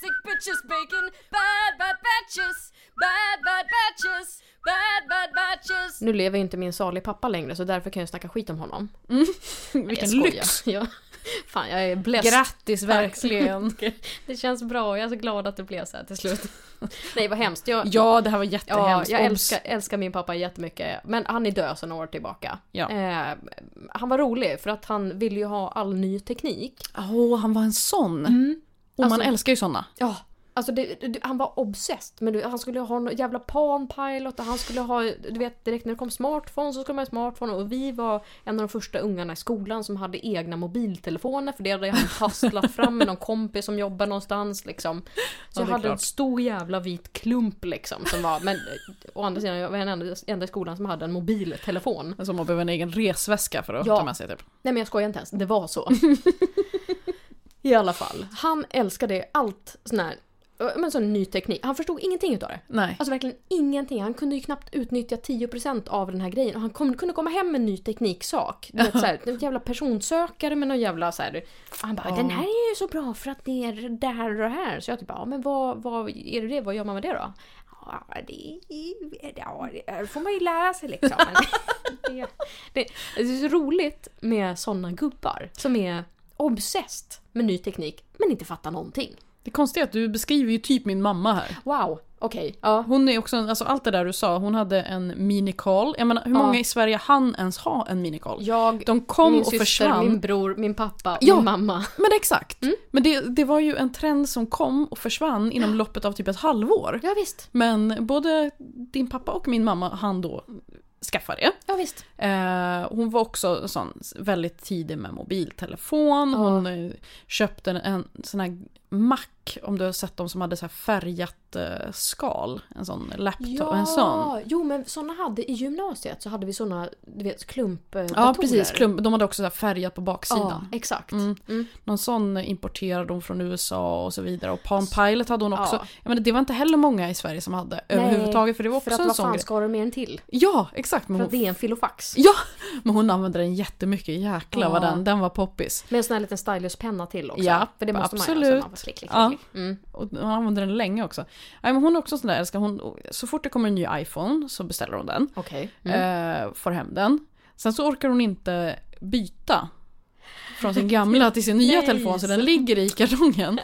sandwiches, bacon, bad bad batches, bad bad batches, bad bad batches. Nu lever ju inte min salig pappa längre så därför kan jag snacka skit om honom. Mm. Vilken jag skojar. lyx! Ja. Fan jag är blessed. Grattis verkligen! det känns bra och jag är så glad att det blev så här till slut. Nej vad hemskt. Jag, Ja, det här var ja, jättehemskt. jag Obs. älskar, älskar min pappa jättemycket. Men han är död sedan några år tillbaka. Ja. Eh, han var rolig för att han ville ju ha all ny teknik. Åh, han var en sån! Och man Alltså- älskar ju såna. Ja. Alltså det, det, han var obsessed. Men du, han skulle ha någon jävla Palm Pilot och han skulle ha, du vet direkt när det kom smartphone så skulle man ha smartphone och vi var en av de första ungarna i skolan som hade egna mobiltelefoner för det hade han hastlat fram med någon kompis som jobbar någonstans liksom. Ja, Så jag det är hade en klart. stor jävla vit klump liksom som var, men eh, å andra sidan jag var den enda, enda i skolan som hade en mobiltelefon. Som man behöver en egen resväska för att Ja. ta med sig typ. Nej men jag skojar inte ens, det var så. I alla fall, han älskade allt sån här, eh, men sån ny teknik. Han förstod ingenting utav det. Nej. Alltså verkligen ingenting. Han kunde ju knappt utnyttja 10% av den här grejen. Och han kom, kunde komma hem med en ny tekniksak. Du vet, så här, en jävla personsökare med någon jävla så här. Och han bara Ja. “den här är ju så bra för att det är det här och det här”. Så jag typ “ja men vad, vad är det det? Vad gör man med det då?” Ja, det, ja, det får man ju lära sig liksom. Men det, det, det är så roligt med sådana gubbar som är obsessed med ny teknik men inte fattar någonting. Det konstiga är att du beskriver ju typ min mamma här. Wow, okej. Ja. Hon är också, en- alltså allt det där du sa, hon hade en minikal. Jag menar, hur Ja. många i Sverige hann ens ha en minikal? Jag De kom min och syster, försvann. min bror, min pappa, Ja. min mamma. Men exakt! Men det, det var ju en trend som kom och försvann inom loppet av typ ett halvår. Ja, visst. Men både din pappa och min mamma hann då skaffa det. Ja, visst. Eh, hon var också sån väldigt tidig med mobiltelefon. Ja. Hon eh, köpte en, en sån här mack, om du har sett dem som hade så här färgat eh, skal. En sån laptop, en sån. jo men såna hade i gymnasiet så hade vi såna, du vet, klumpdatorer. Ja precis, klump, de hade också så här färgat på baksidan. Ja, exakt. Mm. Mm. Någon sån importerade hon från USA och så vidare. Och Palm Pilot hade hon också. Ja. Jag menar, det var inte heller många i Sverige som hade Nej, överhuvudtaget. För det var För också att en vad sån fan grej. ska du med en till? Ja, exakt. Men För att hon, det är en filofax. ja, men hon använde den jättemycket. Jäklar vad Ja. den, den var poppis. Med en sån här liten stylus penna till också. Ja, För det måste man göra. absolut. så man får klick, klick, Ja. klick, klick. Mm. Och hon använder den länge också. Nej, men hon är också en sån där älskar. Hon, så fort det kommer en ny iPhone så beställer hon den. Okej. Mm. Eh, får hem den. Sen så orkar hon inte byta. Från sin gamla till sin nya Nej, telefon så så- den ligger i kartongen.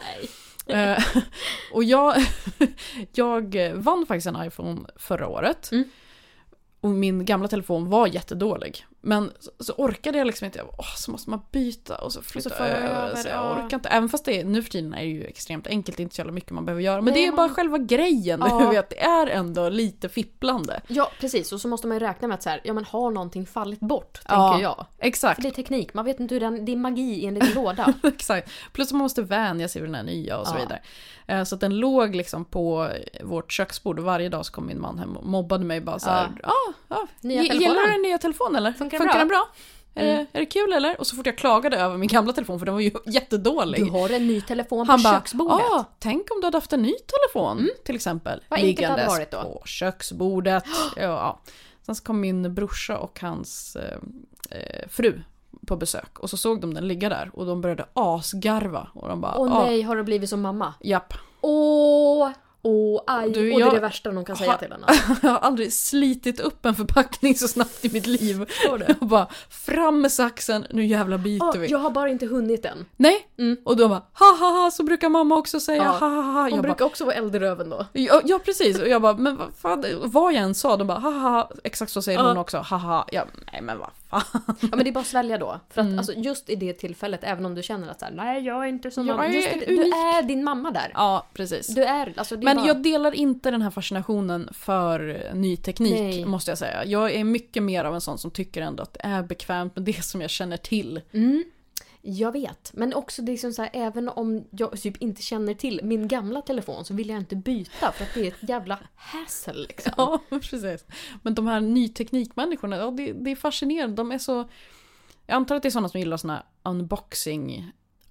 Eh, och jag, jag vann faktiskt en iPhone förra året. Mm. Och min gamla telefon var jättedålig. Men så, så orkade jag liksom inte. Jag bara, Åh, så måste man byta och så flytta Och så föra över. över, så ja. jag orkar inte. Även fast det är, nu för tiden är det ju extremt enkelt. Det är inte så jävla mycket man behöver göra. Men Nej, det är bara man- själva grejen. Ja. Du vet, det är ändå lite fipplande. Ja, precis. Och så måste man ju räkna med att så här, ja men har någonting fallit bort? Ja. Tänker jag. Exakt. För det är teknik, man vet inte hur den, det är magi enligt en låda. Exakt. Plus man måste vänja sig vid den här nya och så Ja. vidare. Eh, Så att den låg liksom på vårt köksbord och varje dag så kom min man hem och mobbade mig bara så här. Ja. Ah, ah, Nya ge- telefonen." gillar du den nya telefonen eller? Funkar Mm. den den bra? Är, det, är det kul eller? Och så fort jag klagade över min gamla telefon för den var ju jättedålig. Du har en ny telefon på Han bara, köksbordet. Mm. ah, tänk om du hade haft en ny telefon till exempel. Vad enkelt det hade varit då. på köksbordet. ja, ja. Sen så kom min brorsa och hans eh, eh, fru på besök och så såg de den ligga där och de började asgarva. Och de bara, Åh ah, nej, har du blivit som mamma? japp. Åh, åh, aj. Du, och det är jag- det värsta någon kan säga Ha- till henne. Jag har aldrig slitit upp en förpackning så snabbt i mitt liv. Förstår du? Och bara, fram med saxen, nu jävla biter Åh, vi. jag har bara inte hunnit än. Nej! Mm. Och de bara, ha ha ha, så brukar mamma också säga, Ja. ha ha ha. Hon Jag bara, brukar också vara eld i röven då. Ja, ja precis, och jag bara men vad fan, vad jag än sa, de bara haha, exakt så säger Ja. hon också, haha, ja, nej men vad fan. Ja men det är bara att svälja då. För att alltså, just i det tillfället, även om du känner att så här, nej jag är inte som Jag mamma. är Just det, du unik. är din mamma där. Ja, precis. Du är, alltså det är men bara... jag delar inte den här fascinationen för ny teknik Nej. måste jag säga. Jag är mycket mer av en sån som tycker ändå att det är bekvämt med det som jag känner till. Mm. Jag vet, men också det är som så här, även om jag typ inte känner till min gamla telefon så vill jag inte byta för att det är ett jävla hassle liksom. Ja, precis. Men de här nyteknikmänniskorna, ja, det, det är fascinerande. De är så... Jag antar att det är sådana som gillar såna här unboxing-videos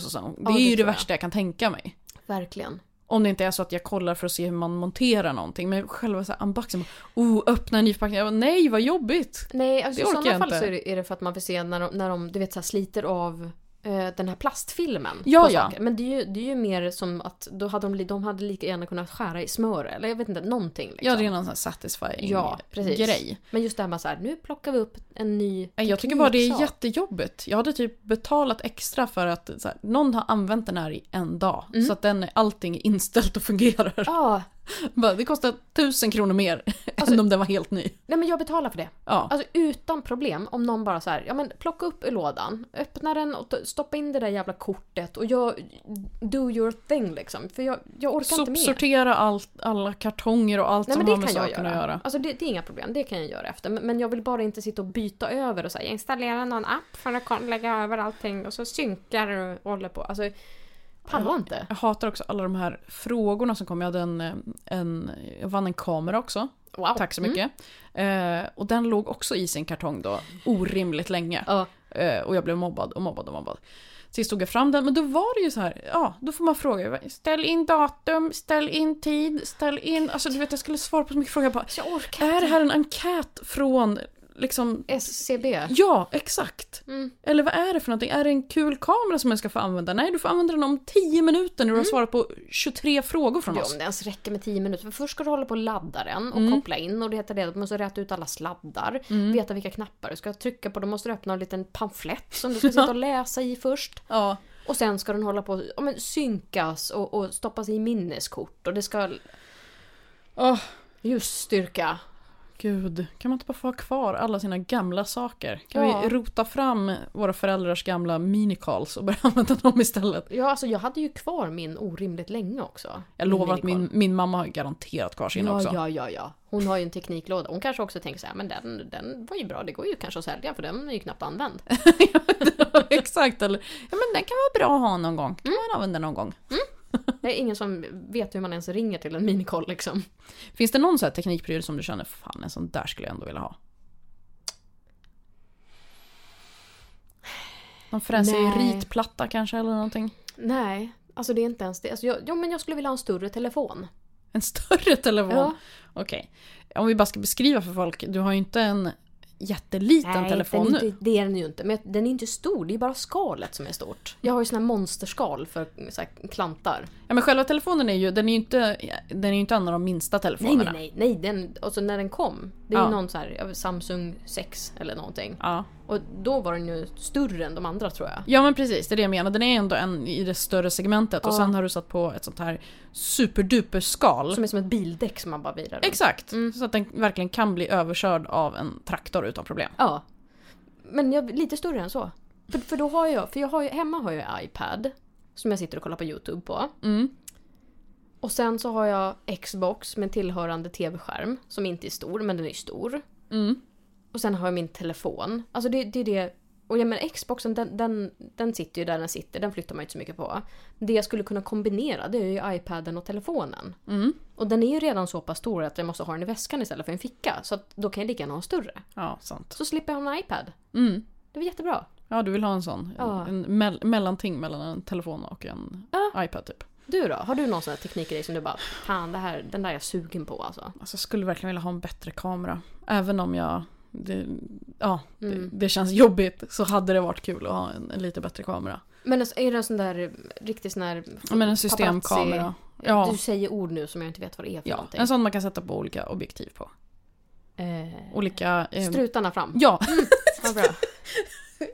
Ja, och sånt. Det Ja, är det ju det tror jag. värsta jag kan tänka mig. verkligen. Om det inte är så att jag kollar för att se hur man monterar någonting. Men själva så här unboxing, bara, oh, öppna en ny förpackning. Jag bara, nej vad jobbigt! Nej, alltså Det i orkar sådana jag fall inte. så är det, är det för att man vill se när de, när de du vet, så här, sliter av eh, den här plastfilmen. Ja, på ja. saker. Men det är, ju, det är ju mer som att då hade de, li- de hade lika gärna kunnat skära i smör eller jag vet inte, någonting. Liksom. Ja, det är någon sån här satisfying Ja, precis. grej. Men just det här med så här, nu plockar vi upp en ny Nej, Jag tycker bara det är tekniksak. jättejobbigt. Jag hade typ betalat extra för att så här, någon har använt den här i en dag. Mm. Så att den, allting är inställt och fungerar. Ja, Bara, Det kostar tusen kronor mer Alltså- än om den var helt ny. nej men jag betalar för det. Ja. Alltså utan problem om någon bara så här, ja men plocka upp ur lådan, öppna den och t- stoppa in det där jävla kortet och jag, do your thing liksom. För jag, jag orkar inte mer. Sopsortera allt, alla kartonger och allt Nej som men det har med kan jag sakerna göra. att göra. Alltså det, det är inga problem, det kan jag göra efter. Men, men jag vill bara inte sitta och byta över och säga jag installerar någon app för att kon- lägga över allting och så synkar det och håller på. Alltså, pallar inte. Jag hatar också alla de här frågorna som kom. Jag, hade en, eh, en, jag vann en kamera också. Wow. Tack så mycket. Eh, och den låg också i sin kartong då orimligt länge. Ja. Eh, och jag blev mobbad och mobbad och mobbad. Sist tog jag fram den, men då var det ju så här, ja, då får man fråga. Ställ in datum, ställ in tid, ställ in... Alltså du vet, jag skulle svara på så mycket frågor. Alltså, Jag bara, Så jag orkar är det här en enkät från liksom... SCB. Ja, exakt. Mm. Eller vad är det för någonting? Är det en kul kamera som jag ska få använda? Nej, du får använda den om 10 minuter när du har svarat på 23 frågor från Mm. Ja, oss. om det ens räcker med 10 minuter. För först ska du hålla på och ladda den och Mm. koppla in och leta reda på, måste räta ut alla sladdar, veta vilka knappar du ska trycka på, då måste du öppna en liten pamflett som du ska sitta och läsa i först. Ja. Och sen ska den hålla på och ja, men, synkas och, och stoppas i minneskort och det ska Åh, ljusstyrka. gud. Kan man inte bara få ha kvar alla sina gamla saker? Kan Ja. vi rota fram våra föräldrars gamla minicalls och börja använda dem istället? Ja, alltså jag hade ju kvar min orimligt länge också. Jag lovar att minikorv. min, min mamma har garanterat kvar sina Ja, också. ja, ja, ja. Hon har ju en tekniklåda. Hon kanske också tänker så här, men den, den var ju bra, det går ju kanske att sälja för den är ju knappt använd. Exakt. Eller, ja, men den kan vara bra att ha någon gång. Mm. Kan man använda någon gång. Det är ingen som vet hur man ens ringer till en minikoll liksom. Finns det någon så här teknikpryl som du känner, fan en sån där skulle jag ändå vilja ha? Någon fräsig Nej. ritplatta kanske eller någonting? Nej, alltså det är inte ens det. Alltså jag, jo, men jag skulle vilja ha en större telefon. En större telefon? Ja. Okej. Om vi bara ska beskriva för folk, du har ju inte en jätteliten telefon den är nu. Inte, det är den ju inte. Men den är inte stor, det är bara skalet som är stort. Jag har ju sån här monsterskal för så här, klantar. Ja, men själva telefonen är ju, den är ju inte, den är ju inte en av de minsta Nej, telefonerna. nej, nej. nej den, alltså när den kom, det är Ja. ju någon så här, jag vet, Samsung 6 eller någonting. Ja. Och då var den ju större än de andra tror jag. Ja men precis, det är det jag menar. Den är ändå en i det större segmentet och Ja. sen har du satt på ett sånt här superduper skal. Som är som ett bildäck som man bara virar runt. Exakt! Mm. Så att den verkligen kan bli överkörd av en traktor utan problem. Ja. Men jag, lite större än så. För, för då har jag, för jag har ju, hemma har jag iPad. Som jag sitter och kollar på YouTube på. Mm. Och sen så har jag Xbox med tillhörande TV-skärm. Som inte är stor, men den är ju stor. Mm. Och sen har jag min telefon. Alltså det, det är det. Och ja men Xboxen den, den, den sitter ju där den sitter, den flyttar man ju inte så mycket på. Det jag skulle kunna kombinera det är ju iPaden och telefonen. Mm. Och den är ju redan så pass stor att jag måste ha den i väskan istället för en ficka. Så att då kan jag lika gärna ha en större. Ja, sant. Så slipper jag ha en iPad. Mm. Det var jättebra. Ja, du vill ha en sån. Ja. En mell- mellanting mellan en telefon och en Ja. iPad typ. Du då? Har du någon sån här teknikgrej som du bara Fan, det här, den där är jag sugen på alltså. Alltså jag skulle verkligen vilja ha en bättre kamera. Även om jag... Det, ja, Mm. det, det känns jobbigt så hade det varit kul att ha en, en lite bättre kamera. Men alltså, är det en sån där eh, riktig sån här... Ja, Men en systemkamera. Du Ja, säger ord nu som jag inte vet vad det är för ja, alltså, någonting. en sån man kan sätta på olika objektiv på. Eh, Olika... eh, strutarna fram. ja, Mm. Vad bra.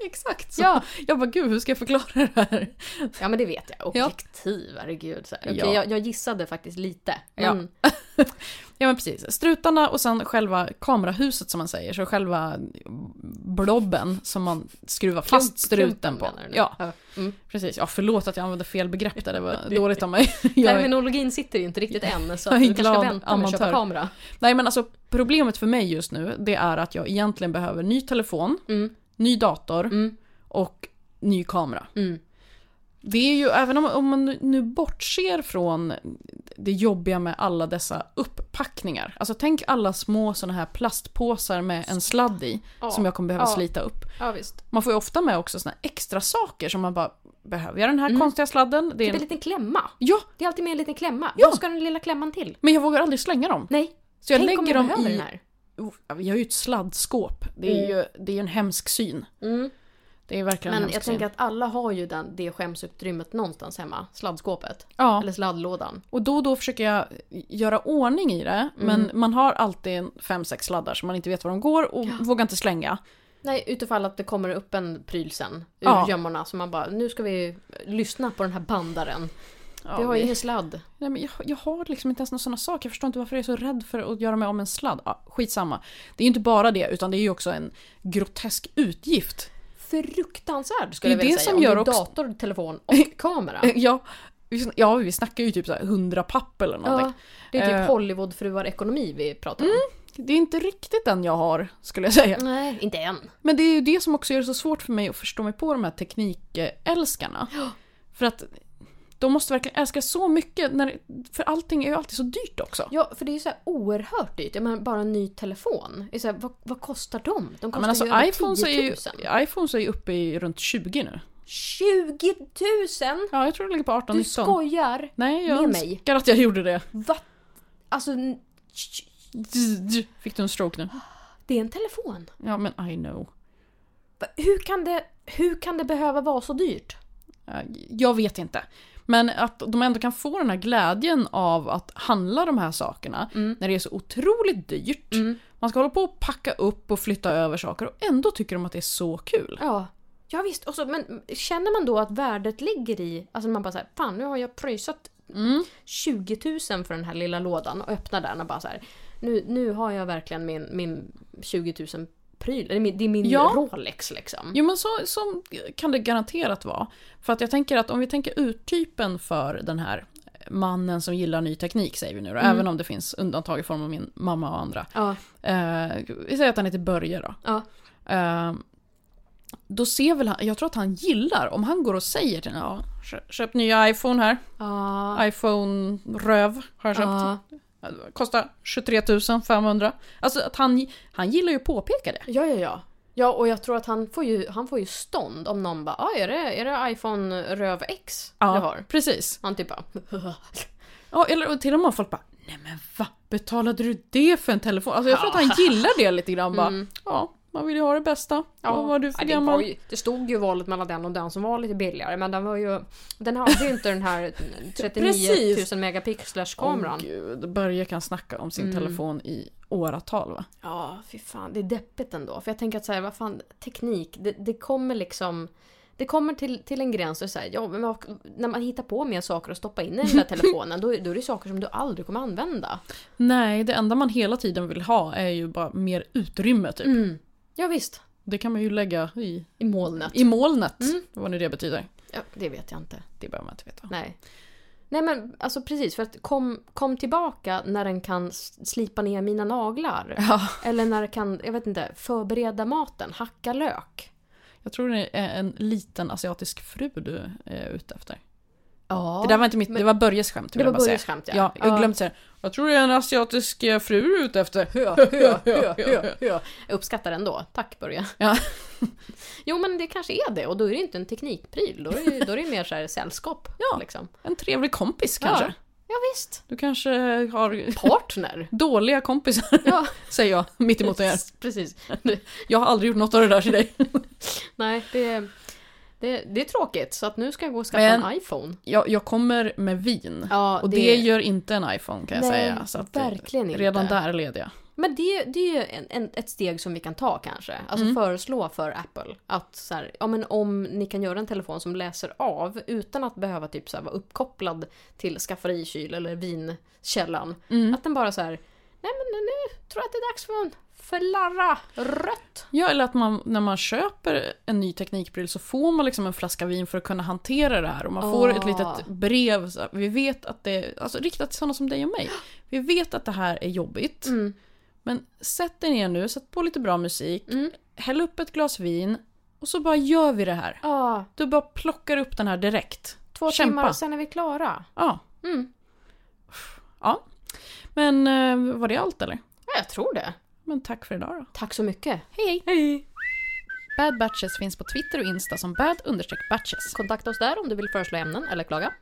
exakt så. Ja. Jag bara gud, hur ska jag förklara det här? ja, men det vet jag. Ja. Objektiv, herregud. Så här. Okej, Ja. jag, jag gissade faktiskt lite. Ja. Men, Ja men precis, strutarna och sen själva kamerahuset som man säger, så själva blobben som man skruvar fast struten på. menar du nu? Ja, Mm. precis. Ja, förlåt att jag använde fel begrepp där, det var dåligt av mig. Jag är- Terminologin sitter ju inte riktigt än, så Jag att är du kanske ska glad vänta med att köpa amatör. kamera. Nej men alltså problemet för mig just nu, det är att jag egentligen behöver ny telefon, Mm, ny dator mm, och ny kamera. mm. Det är ju, även om, om man nu- nu bortser från det jobbiga med alla dessa upppackningar. Alltså tänk alla små sådana här plastpåsar med en sladd i Ja. som jag kommer behöva Ja. slita upp. Ja, visst. Man får ju ofta med också såna här extra saker som man bara, behöver jag den här konstiga sladden? Det Typ är en en... liten klämma. Ja, Det är alltid med en liten klämma. Ja. Vad ska den lilla klämman till? men jag vågar aldrig slänga dem. Nej, Så jag tänk om lägger jag dem behöver i... den här. Oh, Vi har ju ett sladdskåp. Det är ju det är ju en hemsk syn. Mm. Det är verkligen en Men hemsk jag syn. tänker att alla har ju den, det skämsutrymmet någonstans hemma. Sladdskåpet. ja. Eller sladdlådan. Och då och då försöker jag göra ordning i det, men Mm. man har alltid en fem, sex sladdar som man inte vet var de går och vågar inte slänga. Nej, utifall att det kommer upp en pryl sen ur Ja. gömmorna. Så man bara, nu ska vi lyssna på den här bandaren. vi har ju ingen sladd. Nej, men jag, jag har liksom inte ens några sådana saker. Jag förstår inte varför jag är så rädd för att göra mig av med en sladd. Ja, skitsamma. Det är ju inte bara det, utan det är ju också en grotesk utgift. Fruktansvärd skulle jag Det är vilja det säga. som Om gör det är också- dator, telefon och kamera. Eh, Ja, vi, sn- ja, vi snackar ju typ så här 100 papp eller någonting. Ja, det är typ Eh. Hollywoodfruar-ekonomi vi pratar om. Det är inte riktigt den jag har, skulle jag säga. Nej, inte än. Men det är ju det som också gör det så svårt för mig att förstå mig på de här teknikälskarna. För att de måste verkligen älska så mycket, när, för allting är ju alltid så dyrt också. Ja, för det är ju så här oerhört dyrt. Jag menar, bara en ny telefon. Det är så här, vad, vad kostar de? De Men kostar alltså ju över iPhones är 10 000. ju iPhones är ju uppe i runt 20 nu. 20 000? Ja, jag tror det ligger på 18-19. Du skojar? Nej, jag med mig. önskar att jag gjorde det. Va? Alltså, n- Fick du en stroke Ah. nu? det är en telefon. Ja, men I know. Va- Hur kan det, hur kan det behöva vara så dyrt? Eh, Jag vet inte. Men att de ändå kan få den här glädjen av att handla de här sakerna när det är så otroligt dyrt. Man ska hålla på och packa upp och flytta över saker och ändå tycker de att det är så kul. Ja. Ja visst, och så, men känner man då att värdet ligger i... Alltså man bara såhär, fan nu har jag pröjsat Mm. 20 000 för den här lilla lådan och öppnar den och bara såhär. Nu, nu har jag verkligen min, min 20 000 pryl, eller min, det är min Ja. Rolex liksom. Jo men så, så kan det garanterat vara. För att jag tänker att om vi tänker urtypen för den här mannen som gillar ny teknik säger vi nu då, även om det finns undantag i form av min mamma och andra. Ja, Eh, vi säger att han heter Börje då. ja. Eh, då ser väl han, jag tror att han gillar om han går och säger till henne, ja, kö- köp nya iPhone här, Ja. iPhone röv har jag köpt. Eh, Ja. Kostar 23 500. Alltså att han, han gillar ju att påpeka det. Ja, ja, ja. Ja, och jag tror att han får ju, han får ju stånd om någon bara ah, är, det, är det iPhone Röv X du har? precis. Han typ bara Ja, eller och till och med folk bara, nej men va, betalade du det för en telefon? Alltså jag tror att han gillar det lite grann bara, ja, man vill ju ha det bästa. Ja, vad var du för nej, Mm. det, var gammal? ju, det stod ju valet mellan den och den som var lite billigare men den var ju Den hade ju inte den här 39 Precis. 000 megapixlars kameran. Åh, gud, Börje kan snacka om sin telefon i åratal va? Ja, fy fan. Det är deppigt ändå. För jag tänker att så här, vad fan, teknik, det, det kommer liksom... Det kommer till, till en gräns och så här, ja, men vad- när man hittar på mer saker att stoppa in i den där telefonen då, då är det saker som du aldrig kommer använda. Nej, det enda man hela tiden vill ha är ju bara mer utrymme typ. Ja, visst. Det kan man ju lägga i, Mm. I molnet. i molnet, vad nu det betyder. Ja, det vet jag inte. Det behöver man inte veta. Nej. Nej men alltså precis, för att kom, kom tillbaka när den kan s- slipa ner mina naglar. Eller när den kan, jag vet inte, förbereda maten, hacka lök. Jag tror det är en liten asiatisk fru du är ute efter. Ja. det där var inte mitt, men- det var Börjes skämt. vill Det jag var bara säga. Börjes skämt, ja. ja. Jag Ja. glömde säga det. Jag tror det är en asiatisk eh, fru du är ute efter. Jag uppskattar den då. Tack Börje. Ja. Jo men det kanske är det och då är det inte en teknikpryl. Då är det, då är det mer så här sällskap. Ja. Liksom. En trevlig kompis kanske. Ja. ja visst. Du kanske har Partner. dåliga kompisar, Ja, säger jag mitt emot er. precis. Jag har aldrig gjort något av det där till dig. Nej, det, det, det är tråkigt. Så att nu ska jag gå och skaffa Men- en iPhone. Jag, jag kommer med vin. Ja, och det... gör inte en iPhone kan jag Nej, säga. Så att det- verkligen inte. Redan där led jag. Men det, det är ju en, en, ett steg som vi kan ta kanske. Alltså Mm. föreslå för Apple att så här, ja, men om ni kan göra en telefon som läser av utan att behöva typ så här, vara uppkopplad till skafferikyl eller vinkällan. Mm. Att den bara så här, nej men nu tror jag att det är dags för en flarra rött. Ja, eller att man, när man köper en ny teknikpryl så får man liksom en flaska vin för att kunna hantera det här. Och man får ett Ah. litet brev. Så här, vi vet att det, alltså riktat till sådana som dig och mig. Vi vet att det här är jobbigt. Mm. Men sätt dig ner nu, sätt på lite bra musik, Mm. häll upp ett glas vin och så bara gör vi det här. Ja, Du bara plockar upp den här direkt. två Kämpa. timmar och sen är vi klara. Ja. Mm. Ja. Men eh, var det allt eller? Ja, jag tror det. Men tack för idag då. Tack så mycket. Hej hej! Bad Batches finns på Twitter och Insta som bad-batches. Kontakta oss där om du vill föreslå ämnen eller klaga.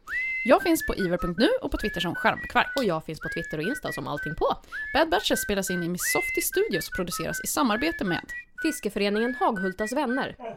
Jag finns på iver.nu och på Twitter som skärmkvark. Och jag finns på Twitter och Insta som allting på. Bad Batches spelas in i Missofty Studios och produceras i samarbete med Fiskeföreningen Haghultas vänner.